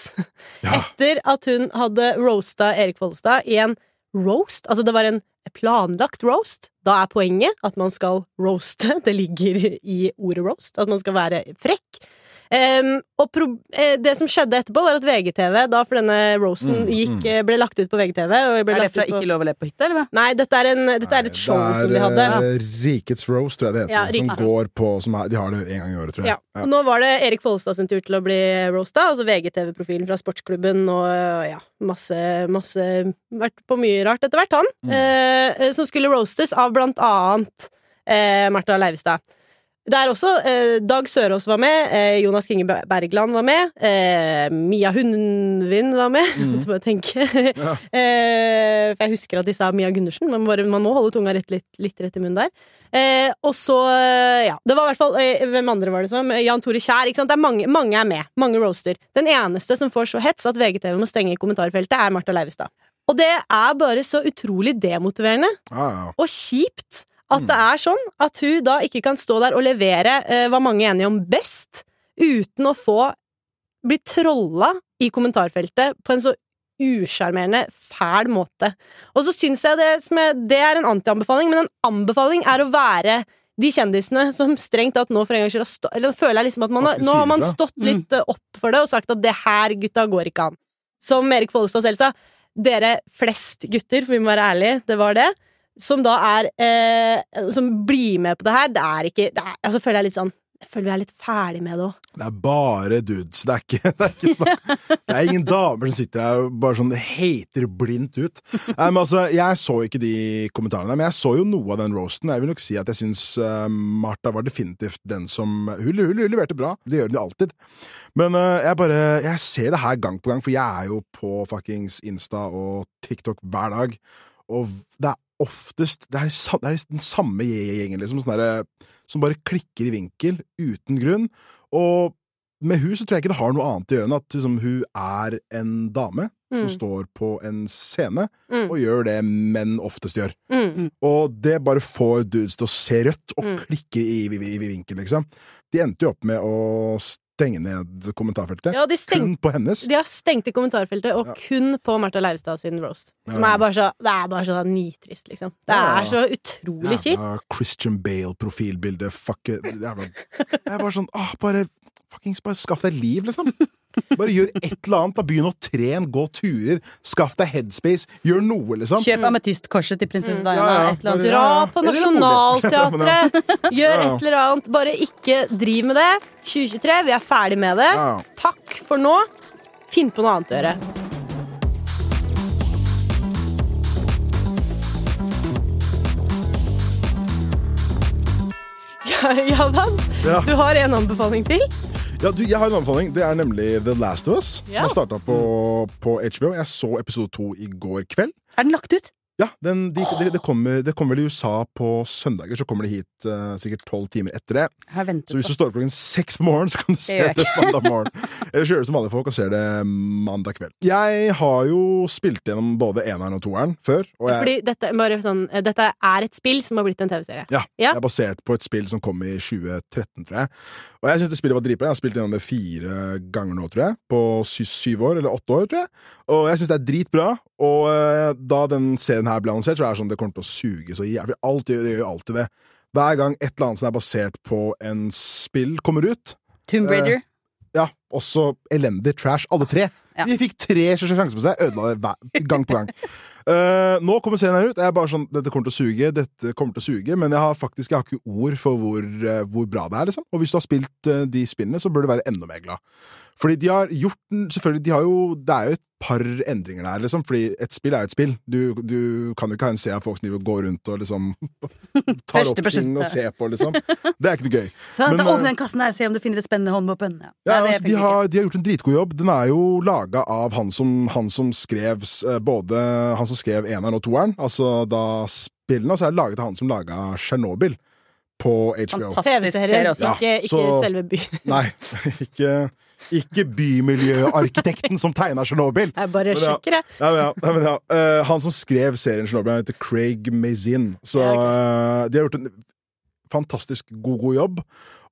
Ja.
etter at hun hadde roasta Erik Follestad i en roast. Altså, det var en planlagt roast. Da er poenget at man skal roaste. Det ligger i ordet roast. At man skal være frekk. Ehm, og pro eh, det som skjedde etterpå, var at VGTV, da for denne roasten
Mm,
gikk,
mm.
eh, ble lagt ut på VGTV og ble
Er det
lagt
fra
ut på...
Ikke lov å le på hytta, eller hva?
Nei, dette er, en, dette er et show som de hadde.
Det er eh, Rikets Roast, tror jeg det heter.
Ja,
som
Rikets
går på som er, De har det en gang i året, tror jeg.
Ja. Nå var det Erik Follestad sin tur til å bli roasta, altså VGTV-profilen fra sportsklubben og øh, ja, masse, masse Vært på mye rart etter hvert, han.
Mm.
Eh, som skulle roastes av blant annet eh, Martha Leivestad. Der også eh, Dag Sørås var med, eh, Jonas Kinge Ber- Bergland var med, eh, Mia Hundvin var med.
Mhm.
Måtte bare tenke. eh, for jeg husker at de sa Mia Gundersen. Man, bare, man må holde tunga rett, litt, litt rett i munnen der. Eh, og så, eh, ja Det var i hvert fall eh, Hvem andre var det som var med? Jan Tore Kjær. ikke sant? Det er mange, mange er med. Mange roaster. Den eneste som får så hets at VGTV må stenge kommentarfeltet, er Martha Leivestad. Og det er bare så utrolig demotiverende
Ja, ja.
og kjipt at det er sånn at hun da ikke kan stå der og levere eh, hva mange er enige om best, uten å få bli trolla i kommentarfeltet på en så usjarmerende, fæl måte. Og så syns jeg det, som jeg, det er en antianbefaling, men en anbefaling er å være de kjendisene som strengt tatt nå for en gangs skyld har stå- Eller føler jeg liksom at man har,
Faktisk
nå har man
sier
stått litt eh, opp for det og sagt at det her, gutta, går ikke an. Som Erik Follestad selv sa, dere flest gutter, for vi må være ærlige, det var det, som da er eh, Som blir med på det her, det er ikke det er, altså, føler jeg litt sånn Jeg føler vi er litt ferdig med det òg.
Det er bare dudes. Det er ikke, det er ikke snakk Det er ingen damer som sitter der og bare sånn hater blindt ut. Nei, men altså, jeg så ikke de kommentarene, men jeg så jo noe av den roasten. Jeg vil nok si at jeg syns eh, Martha var definitivt den som Hun, hun, hun leverte bra. Det gjør hun jo alltid. Men eh, jeg bare Jeg ser det her gang på gang, for jeg er jo på fuckings Insta og TikTok hver dag, og v- det er oftest Det er, sa- det er den samme gjengen, liksom. Sånn derre som bare klikker i vinkel uten grunn. Og med hun så tror jeg ikke det har noe annet i øynene at liksom, hun er en dame
Mm.
som står på en scene
Mm.
og gjør det menn oftest gjør.
Mm.
Og det bare får dudes til å se rødt og
Mm.
klikke i, i, i, i vinkel, liksom. De endte jo opp med å stenge ned kommentarfeltet.
Mm. Ja, de, stengte,
Kun på hennes.
de har stengt i kommentarfeltet, og
Ja.
kun på Martha Leivestad sin roast. Som
Ja.
er bare så, det er bare så nitrist, liksom. Det
Ja.
er så utrolig kjipt.
Jævla Christian Bale-profilbilde, fuck it. Jævla. Jeg er bare sånn, ah, bare fuckings, bare skaff deg liv, liksom. Bare gjør et eller annet, da begynn å trene, gå turer, skaff deg headspace, gjør noe, liksom.
Kjøp ametystkorset til prinsesse Diana.
Mm. Ja, ja.
Et eller annet.
Dra
Ja, ja.
på
Eller en bolig.
Nationaltheatret! Gjør
Ja, ja.
et eller annet. Bare ikke driv med det. 2023, vi er ferdig med det.
Ja, ja.
Takk for nå. Finn på noe annet å gjøre. Ja, Javan,
Ja.
du har en anbefaling til.
Ja, du, jeg har en anbefaling. Det er nemlig The Last of Us,
Ja.
som har starta på, på HBO. Jeg så episode to i går kveld.
Er den lagt ut?
Ja, den, de, de, det kommer, det kommer vel i USA på søndager, så kommer de hit eh, sikkert tolv timer etter det.
Jeg har ventet
Så hvis
på
du står opp klokken seks på morgenen, så kan du se
gjør jeg
det mandag morgen. Eller så gjør du som vanlige folk og ser det mandag kveld. Jeg har jo spilt gjennom både eneren og toeren før, og jeg,
Fordi dette, er bare sånn, eh, dette er et spill som har blitt en TV-serie.
ja,
Ja.
jeg er basert på et spill som kom i 2013, tror jeg. Og jeg syns det spillet var dritbra. Jeg har spilt gjennom det fire ganger nå, tror jeg. På sy syv år, eller åtte år, tror jeg. Og jeg syns det er dritbra. Og eh, da den serien her ble annonsert, så er det sånn det kommer til å suge så jævlig. Alt gjør det gjør jo alltid det. Hver gang et eller annet som er basert på en spill, kommer ut,
Tomb Raider.
ja, også elendig trash. Alle tre.
Ja.
De fikk tre sj- sjanser på seg, ødela det hver, gang på gang. Eh, nå kommer serien her ut. Jeg er bare sånn, Dette kommer til å suge, dette kommer til å suge, men jeg har faktisk jeg har ikke ord for hvor, eh, hvor bra det er. liksom. Og hvis du har spilt eh, de spillene, så bør du være enda mer glad. Fordi de har gjort den selvfølgelig, de har jo, Det er jo et par endringer der, liksom. Fordi et spill er jo et spill. Du, du kan jo ikke ha en serie av folk som driver og går rundt og liksom tar
Første
opp ting og
prosjektet.
ser på, liksom. Det er ikke noe gøy.
Så
Men,
da
eh,
åpner den kassen her, se om du finner et spennende håndvåpen. Ja.
Ja,
Nei, det
altså, de,
funker ikke.
har, de har gjort en dritgod jobb. Den er jo laga av han som, han som skrev s- eh, både han som skrev eneren og toeren, altså da spillene, og så er det laget av han som laga Tsjernobyl på HBO.
Fantastisk.
TV-serier,
serie også.
ikke,
altså. Ja,
ikke
så-
selve byen.
Nei, ikke, ikke bymiljøarkitekten som tegna Tsjernobyl.
Jeg bare
Men ja.
sjekker, jeg.
Nei, men ja, nei, men ja. Eh, han som skrev serien Tsjernobyl, han heter Craig Mazin. Så
Ja,
eh, de har gjort en fantastisk god, god jobb.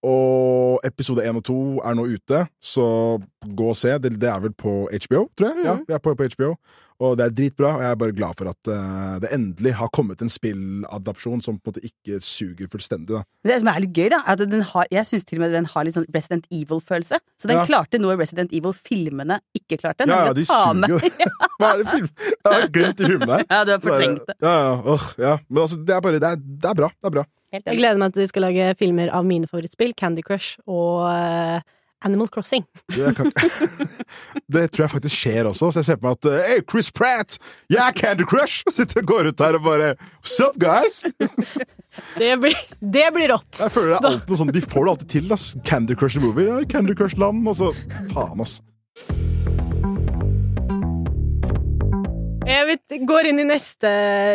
Og episode én og to er nå ute, så gå og se. Det, det er vel på HBO, tror jeg. Ja,
Mhm.
vi er på, på HBO. Og det er dritbra, og jeg er bare glad for at eh, det endelig har kommet en spilladapsjon som på en måte ikke suger fullstendig. Da.
Men Det som er litt gøy, da, er at den har, jeg syns til og med den har litt sånn Resident Evil-følelse. Så den
Ja.
klarte noe Resident Evil-filmene ikke klarte.
Ja, ja,
nemlig
de
å ta med-
suger jo. Hva er det film? Jeg har glemt de filmene her.
Ja, du har fortrengt det.
Ja, ja, åh, ja. Men altså, det er bare Det er, det er bra. Det er bra.
Helt
Jeg
enig.
gleder meg til de skal lage filmer av mine favorittspill, Candy Crush og eh, Animal Crossing.
Du, jeg kan... Det tror jeg faktisk skjer også, så jeg ser på meg at eh, Hey, Chris Pratt! Jeg er Candy Crush! Sitter og går ut her og bare What's up, guys?
Det blir, det blir rått!
Jeg føler det er alltid noe sånn De får det alltid til, ass. Candy Crush the Movie. Ja, Candy Crush Land. Og så Faen, ass.
Jeg vet, Eh, går inn i neste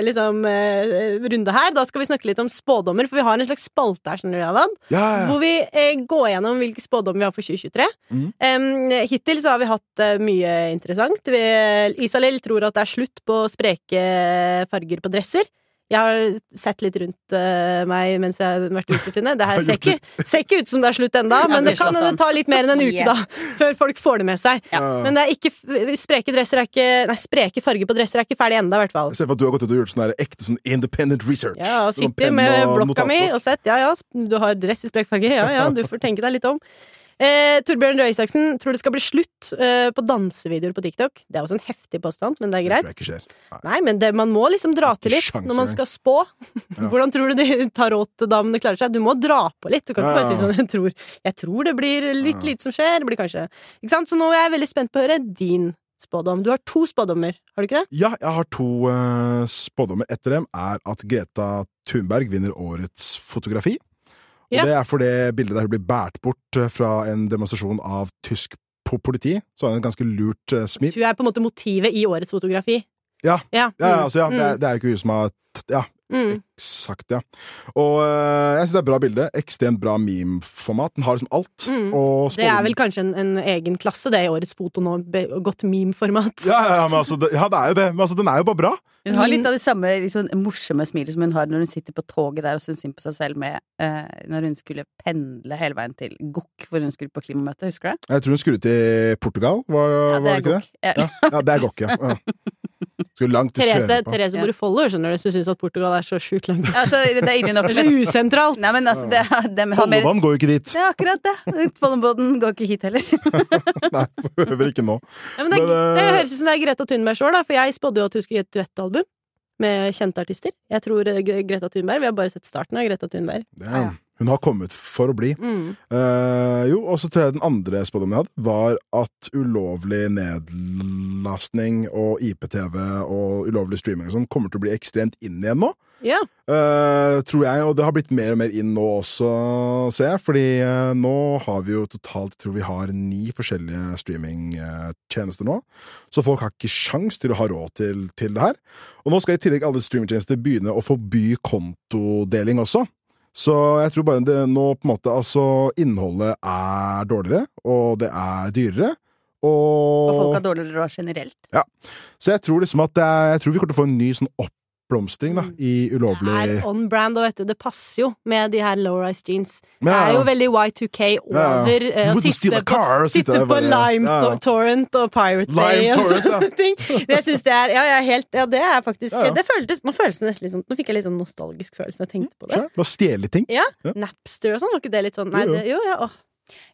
liksom, eh, runde her. Da skal vi snakke litt om spådommer, for vi har en slags spalte her. skjønner du, Avad,
Ja, ja,
Hvor vi eh, går gjennom hvilke spådommer vi har for 2023.
Mm.
Em, hittil så har vi hatt eh, mye interessant. Vi, eh, Isalill tror at det er slutt på spreke eh, farger på dresser. Jeg har sett litt rundt eh, meg mens jeg har vært ute sine. Det her
Har
ser
gjort
ikke, ser ikke ut som det er slutt ennå, men det
blir
kan
slått
hende
an.
det tar litt mer enn en uke,
Yeah.
da, før folk får det med seg.
Ja.
ja.
Men det er ikke, f- spreke dresser er ikke Nei, spreke farger på dresser er ikke ferdig ennå, i hvert fall.
Jeg ser for at du har gått ut og gjort sånn der ekte sånn independent research.
Ja, og
Sånn
sitter
penn
med
og
blokka mi
notatblokk.
og sett Ja, ja, du har dress i sprekfarge. Ja, ja, du får tenke deg litt om. Eh, Torbjørn Røe Isaksen tror det skal bli slutt eh, på dansevideoer på TikTok. Det er også en heftig påstand, men det er
Det
greit.
tror jeg ikke skjer. Nei.
Nei, men det, man må liksom dra
Det
til
er ikke
litt
sjans
når man skal
engang.
spå. Hvordan tror du de tarotdamene klarer seg? Du må dra på litt. Du kan ikke
Ja,
bare
ja.
si sånn jeg tror, jeg tror det blir litt
Ja.
lite som skjer. Det blir kanskje Ikke sant? Så nå er jeg veldig spent på å høre din spådom. Du har to spådommer, har du ikke det?
Ja, jeg har to eh, spådommer. Et av dem er at Greta Thunberg vinner årets fotografi. Og
Ja.
det er for det bildet der hun blir båret bort eh, fra en demonstrasjon av tysk po- politi. Så har hun et ganske lurt eh, smil.
Du er på en måte motivet i årets fotografi.
Ja.
Ja.
Ja, ja, altså, ja, det,
Mm.
er- det er jo ikke hun som har t- Ja,
Mm.
Eksakt, ja. Og eh, jeg syns det er et bra bilde. Ekstremt bra memeformat. Den har liksom alt.
Mm.
Og
Det er
spådommen-
vel kanskje en, en egen klasse, det, i årets foto nå. be- Godt meme-format.
ja, ja, ja, men altså, det, ja, det er jo det. Men altså, den er jo bare bra.
Hun har
Min-
litt av det samme liksom, morsomme smilet som hun har når hun sitter på toget der og syns synd på seg selv med eh, når hun skulle pendle hele veien til Gokk, hvor hun skulle på klimamøte, husker du det?
Jeg tror hun skulle til Portugal, var,
Ja,
var det ikke det?
Ja.
Ja, ja det er godt, ja. ja. Skulle langt til
Therese,
Søreuropa.
Therese bor i Follo, skjønner du, så syns at Portugal er så sjukt langt.
Altså, det er ille nok,
Det er
men
så usentralt!
Nei, men altså, det, det har mer
Follobanen går jo ikke dit.
Det er akkurat det. Folloboden går ikke hit heller.
Nei, behøver ikke nå.
Ja, men det, er-
Men,
det
eh,
høres ut som det er Greta Thunberg sjøl, for jeg spådde jo at hun skulle gi et duettalbum med kjente artister. Jeg tror eh, G- Greta Thunberg Vi har bare sett starten av Greta Thunberg.
Damn. Hun har kommet for å bli.
Mm.
Eh, jo, og så tror jeg den andre spådommen jeg hadde, var at ulovlig nedlastning og IPTV og ulovlig streaming og sånn kommer til å bli ekstremt inn igjen nå.
Ja.
Eh, tror jeg, og det har blitt mer og mer inn nå også, ser jeg. Fordi eh, nå har vi jo totalt, jeg tror vi har ni forskjellige streamingtjenester nå. Så folk har ikke sjans til å ha råd til, til det her. Og nå skal i tillegg alle streamingtjenester begynne å forby kontodeling også. Så jeg tror bare det nå på en måte Altså, innholdet er dårligere, og det er dyrere. Og,
Og folk har dårligere råd generelt.
Så jeg tror liksom at det er, jeg tror vi kommer til å få en ny sånn oppblomstring da,
Mm.
i
Det
ulovlig
er on brand, og vet du, det passer jo med de her low-rise jeans.
Men
Det
ja,
er
ja.
jo veldig Y2K
Ja, ja.
over eh, å
Wouldn't steal
sitte
a
på,
car, sitte
sitte
der
på
bare-
Lime
ja, ja.
Torrent og Pirate Bay
Lime
og
Torrent,
sånne ting. Det syns jeg er Ja, jeg er helt Ja, det er faktisk
Ja, ja.
Det føltes, Nå føltes det nesten litt sånn Nå fikk jeg litt sånn nostalgisk følelse når jeg tenkte på det.
Sure. Bare stjele ting.
Ja,
Ja.
Napster og sånn, var ikke det litt sånn Nei,
Jo, jo.
det, jo, ja, åh.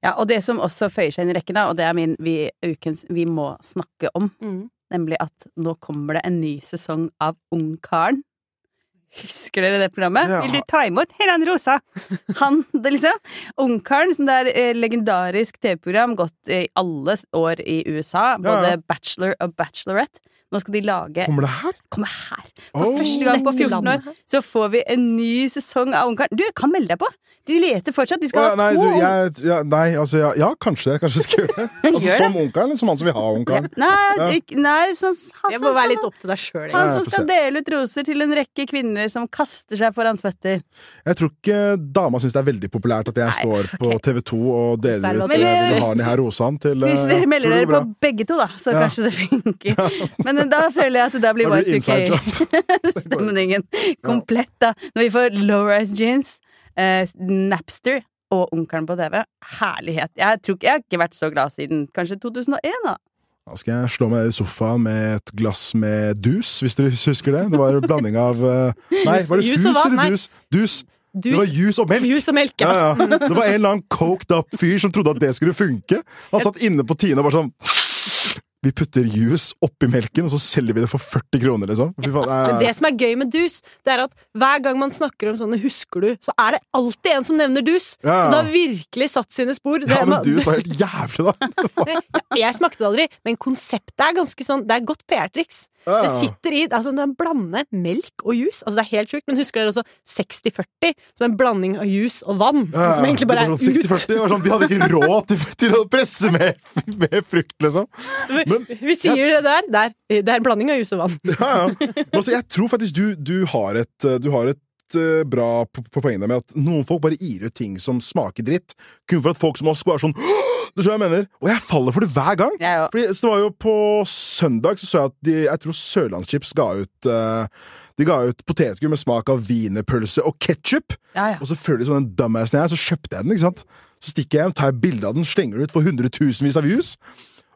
Ja, og det som også føyer seg inn i rekken, da, og det er min vi, ukens vi må snakke om,
Mm.
nemlig at nå kommer det en ny sesong av Ungkaren. Husker dere det programmet?
Ja.
Vil du ta imot Heran Rosa? Han, det liksom. Ungkaren, som det er eh, legendarisk TV-program, gått i alle år i USA.
Ja,
Både
ja.
Bachelor og Bachelorette. Nå skal de lage
Kommer det her?
Kommer her! For
Oh.
første gang på
Dette
14 år
landet her.
så får vi en ny sesong av Ungkaren. Du kan melde deg på! De leter fortsatt. De
Å,
skal
ja, nei,
ha
du,
to
jeg, ja, nei, altså ja, ja, kanskje kanskje skulle jeg altså,
Gjør det.
Som onkelen, som han som vil ha onkelen.
Nei,
Ja.
ikke- nei sånn, han,
Det
som-
må være
som-
litt opp til deg sjøl,
han
Ja,
som
få
skal
se.
dele ut roser til en rekke kvinner som kaster seg foran spytter.
Jeg tror ikke dama syns det er veldig populært at jeg
Nei,
står på TV2 og deler ut
Selv om-
eh,
Men-
Vil du ha den her rosaen til eh,
Hvis dere melder
tror
dere
det går bra.
på begge to, da, så
Ja.
kanskje det funker. Men eh, da føler jeg at da blir
Da blir det inside job.
Y2K-stemningen komplett, da. Når vi får low-rise jeans, eh, Napster og Onkelen på TV. Herlighet. Jeg tror ikke jeg har ikke vært så glad siden kanskje 2001, da.
Da skal jeg slå meg ned i sofaen med et glass med dus, hvis dere husker det. Det var en blanding av eh, Nei, var det
Jus
fus
og vann?
eller
Nei.
dus? Dus.
Du
Det var jus og melk.
Jus og melk,
Ja,
ja.
ja. Det var en eller annen coked up fyr som trodde at det skulle funke. Han satt inne på Tine og bare sånn Vi putter juice oppi melken, og så selger vi det for 40 kroner, liksom. Fy faen,
Men
det
det
er-
som er gøy med dus, det er at hver gang man snakker om sånne 'husker du', så er det alltid en som nevner dus.
Ja, ja.
Så det har virkelig satt sine spor. Det,
Ja, men
man-
juice var helt jævlig, da.
jeg smakte det aldri, men konseptet er ganske sånn Det er godt PR-triks.
Ja,
Det
ja.
sitter i altså, det er en blande melk og juice. Altså, det er helt sjukt, men husker dere også 60-40? Som en blanding av juice og vann.
Ja,
Som egentlig bare
det
er
var
ut.
sånn 60-40, det var sånn, Vi hadde ikke råd til, til å presse med, med frukt, liksom. Men
Vi sier det der. Det er, det er en blanding av juice og vann.
Ja, ja. Men altså, jeg tror faktisk du, du har et, eh, du har et eh, bra p- på poenget der med at noen folk bare gir ut ting som smaker dritt, kun for at folk som oss bare er sånn «Åh!» Du skjønner hva jeg mener? Og jeg faller for det hver gang!
Jeg òg.
Fordi, så det var jo På søndag så så jeg at de, jeg tror Sørlandschips ga ut eh, De ga ut potetgull med smak av wienerpølse og ketsjup.
Ja, ja.
Og selvfølgelig som den dumbassen jeg er, så kjøpte jeg den. ikke sant? Så stikker jeg hjem, tar jeg bilde av den, slenger den ut for hundretusenvis av views.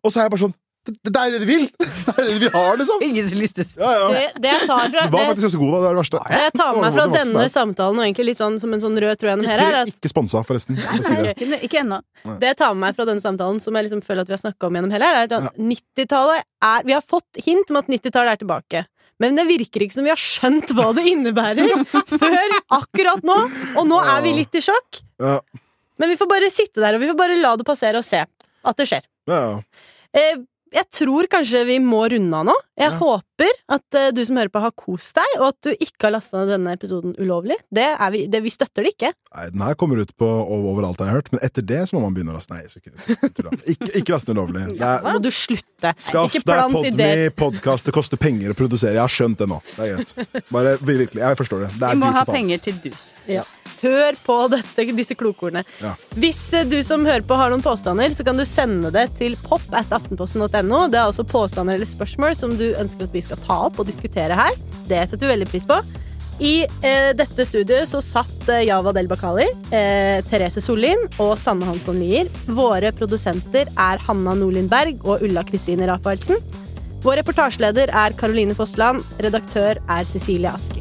Og så er jeg bare sånn Det, det er det vi vil! Det er det vi har, liksom!
Ingen som lyster
Ja, ja.
Det, det jeg tar fra
Du var faktisk ganske god, da. Det er det verste.
Så jeg tar med meg fra
Det var ikke
denne
så
samtalen, og egentlig litt sånn som en sånn rød tråd gjennom her, er
bad.
at
Ikke sponsa, forresten. for å si det.
Ikke, ikke ennå.
det jeg tar med meg fra denne samtalen, som jeg liksom føler at vi har snakka om gjennom hele, her, er at 90-tallet er Vi har fått hint om at 90-tallet er tilbake. Men det virker ikke som vi har skjønt hva det innebærer før akkurat nå. Og nå er vi litt i sjokk.
Ja,
Men vi får bare sitte der, og vi får bare la det passere og se at det skjer.
ja,
Eh, jeg tror kanskje vi må runde av nå. Jeg
Ja.
håper at eh, du som hører på, har kost deg, og at du ikke har lasta ned denne episoden ulovlig. Det er vi, det, vi støtter det ikke.
Nei, den her kommer ut på over- overalt, har jeg hørt. Men etter det så må man begynne å laste. Nei, så ikke, jeg tuller. ikke, ikke laste ned lovlig. Det er,
Må du slutte?
skaff
ikke
deg
plant ideer.
Podme-podkast. Det koster penger å produsere. Jeg har skjønt det nå. Det er greit. Bare virkelig. Jeg forstår det. Det
Vi
er
må
dyrt
ha
for faen.
penger til dus.
Ja. Hør på dette, disse klokordene.
Ja.
Hvis eh, du som hører på har noen påstander, så kan du sende det til pop at aftenposten.no. Det er altså påstander eller spørsmål som du ønsker at vi skal ta opp og diskutere her. Det setter vi veldig pris på. I eh, dette studioet så satt eh, Java Del Bakali, eh, Therese Sollien og Sanne Hansson Lier. Våre produsenter er Hanna Nordlien Berg og Ulla Kristine Rafaelsen. Vår reportasjeleder er Karoline Fossland. Redaktør er Cecilie Asker.